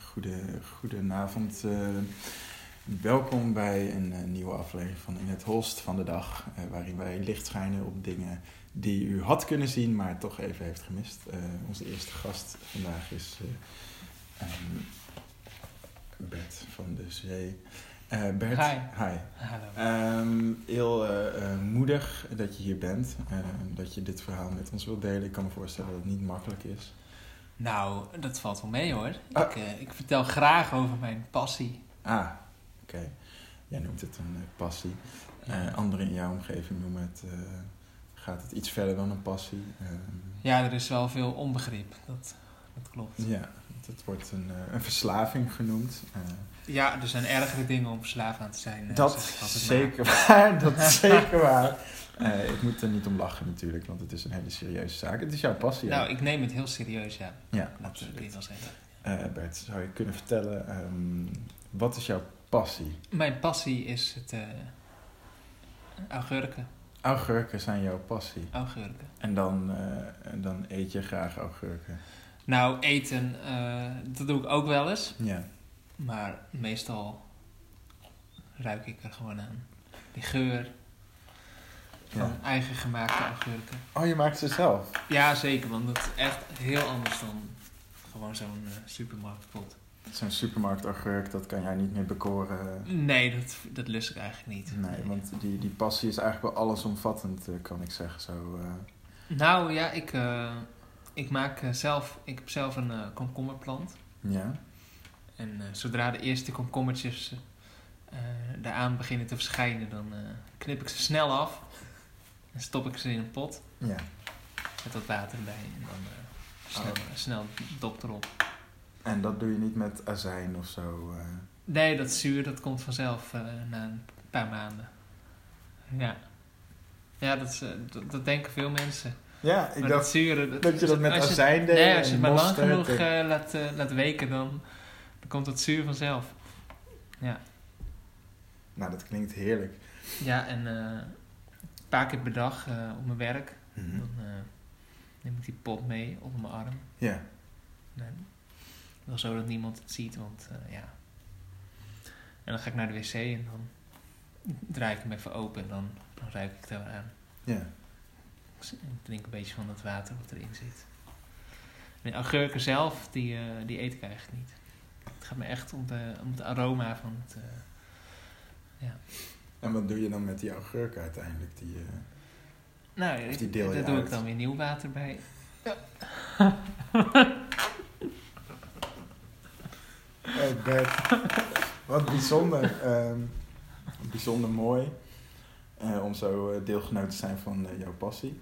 Goede, goedenavond. eh, welkom bij een eh, nieuwe aflevering van In het Holst van de Dag. eh, waarin wij licht schijnen op dingen die u had kunnen zien, maar toch even heeft gemist. Eh, onze eerste gast vandaag is eh, ehm, Bert van de Zee. Eh, Bert, Hi. hi. Hallo. Ehm, heel eh, eh, moedig dat je hier bent, eh, dat je dit verhaal met ons wilt delen. Ik kan me voorstellen dat het niet makkelijk is. Nou, dat valt wel mee hoor. Ah. Ik, eh, ik vertel graag over mijn passie. Ah, oké. Jij noemt het een eh, passie. Ja. Eh, anderen in jouw omgeving noemen het, eh, gaat het iets verder dan een passie. Ehm, Ja, er is wel veel onbegrip. Dat, dat klopt. ja, het wordt een, eh, een verslaving genoemd. Eh, Ja, er zijn ergere dingen om verslaafd aan te zijn. eh, dat zeg ik altijd is maar. zeker waar, dat is zeker waar. Eh, ik moet er niet om lachen natuurlijk, want het is een hele serieuze zaak. Het is jouw passie. hè? Nou, ik neem het heel serieus, ja. ja, Dat absoluut. kun je wel zeggen. Eh, Bert, zou je kunnen vertellen, ehm, wat is jouw passie? Mijn passie is het... eh augurken. Augurken zijn jouw passie. Augurken. En dan, eh, en dan eet je graag augurken. Nou, eten, eh, dat doe ik ook wel eens. Ja. Maar meestal ruik ik er gewoon aan. Die geur van Ja. eigen gemaakte augurken. Oh, je maakt ze zelf? Ja, zeker, want dat is echt heel anders dan gewoon zo'n eh, supermarktpot. Zo'n supermarktaugurk, dat kan jij niet meer bekoren. Nee, dat, dat lust ik eigenlijk niet. Nee, want die, die passie is eigenlijk wel allesomvattend, eh, kan ik zeggen. Zo, eh. Nou ja, ik, eh, ik maak eh, zelf, ik heb zelf een eh, komkommerplant. ja. En eh, zodra de eerste komkommertjes eh daaraan beginnen te verschijnen, dan eh, knip ik ze snel af. En stop ik ze in een pot ja. met wat water erbij. En dan eh, snel, Oh. snel dop erop. En dat doe je niet met azijn of zo. eh. Nee, dat zuur dat komt vanzelf eh, na een paar maanden. Ja. Ja, dat, is, eh, dat, dat denken veel mensen. Ja, ik maar dat dacht zure... dat je dat met als je het- azijn deed. Nee, als je en het maar lang mosterd genoeg en- eh, laat, eh, laat weken, dan, dan komt dat zuur vanzelf. Nou, dat klinkt heerlijk. Ja, en eh, een paar keer per dag eh, op mijn werk. Mhm. Dan eh, neem ik die pot mee op mijn arm. Ja. Nee. Wel zo dat niemand het ziet, want eh, ja. En dan ga ik naar de wc en dan draai ik hem even open en dan, dan ruik ik het wel aan. ja. Ik s- ik drink een beetje van dat water wat erin zit. En de augurken zelf, die, eh, die eet ik eigenlijk niet. Het gaat me echt om, de, om het aroma van het... eh, En wat doe je dan met die augurk uiteindelijk? Die, eh, nou, Of ik- die deel je daar doe uit. ik dan weer nieuw water bij. Oh, Bert. Wat bijzonder. ehm, bijzonder mooi eh, om zo eh, deelgenoot te zijn van eh, jouw passie.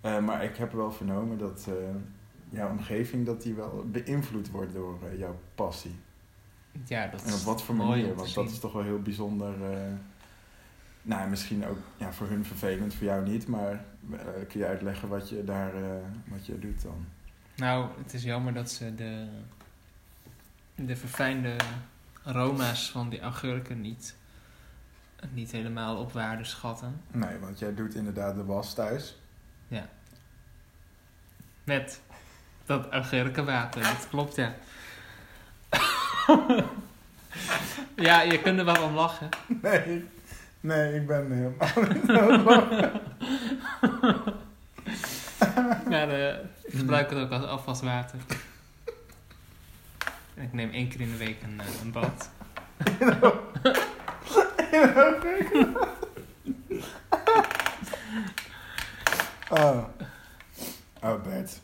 Eh, maar ik heb wel vernomen dat eh, jouw omgeving dat die wel beïnvloed wordt door eh, jouw passie. Ja, dat En op is wat voor mooi manier? om te Want dat zien. is toch wel heel bijzonder. eh, nou, misschien ook ja, voor hun vervelend, voor jou niet. Maar eh, kun je uitleggen wat je daar eh, wat je doet dan? Nou, het is jammer dat ze de, de verfijnde aroma's van die augurken niet, niet helemaal op waarde schatten. Nee, want jij doet inderdaad de was thuis. Met dat augurkenwater, dat klopt ja. ja, je kunt er wel om lachen. Nee, nee, ik ben helemaal niet aan het lachen. Maar eh, ik gebruik het ook als afwaswater. En ik neem één keer in de week een, eh, een bad. Oh. oh, Bert.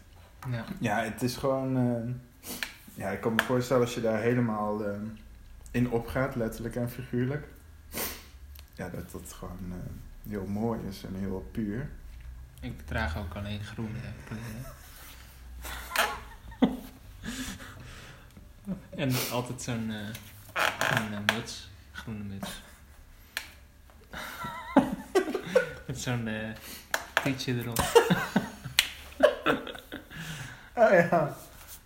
Ja. Ja, het is gewoon... eh, ja, ik kan me voorstellen als je daar helemaal eh, in opgaat, letterlijk en figuurlijk. Ja, dat dat gewoon eh, heel mooi is en heel puur. Ik draag ook alleen groene kleren. en altijd zo'n eh, zo'n, eh, muts. Groene muts. Met zo'n eh tietje erop. Oh ja.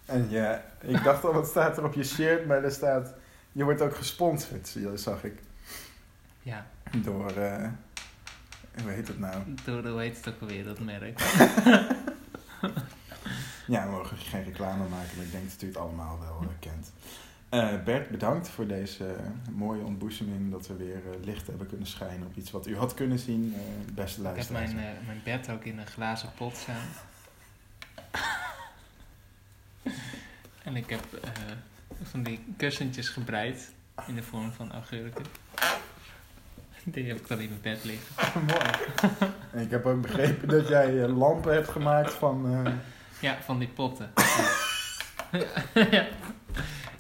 En ja, ik dacht al, wat staat er op je shirt? Maar er staat... Je wordt ook gesponsord, zie je, zag ik. Ja, Door... eh, hoe heet dat nou? door hoe heet het ook alweer, dat merk. Ja, we mogen geen reclame maken, maar ik denk dat u het allemaal wel eh, kent. Eh, Bert, bedankt voor deze eh, mooie ontboezeming. Dat we weer eh, licht hebben kunnen schijnen op iets wat u had kunnen zien, eh, beste Ik heb luisteraars. mijn, eh, mijn bed ook in een glazen pot staan. en ik heb eh, van die kussentjes gebreid in de vorm van augurken. Die heb ik dan in mijn bed liggen. Mooi. En ik heb ook begrepen dat jij eh, lampen hebt gemaakt van... eh, Ja, van die potten. ja.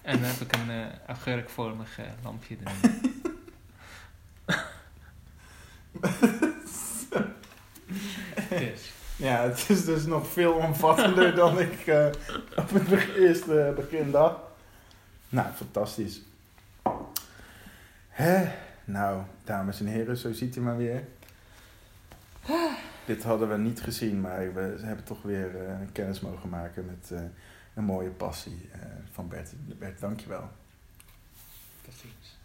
En dan heb ik een eh augurkvormig eh, lampje erin. dus, Ja, het is dus nog veel omvattender dan ik eh, op het beg- eerste begin dacht. Nou, fantastisch. Hè? Nou, dames en heren, zo ziet u maar weer. Dit hadden we niet gezien, maar we hebben toch weer eh, kennis mogen maken met eh, een mooie passie eh, van Bert. Bert, dankjewel. tot ziens.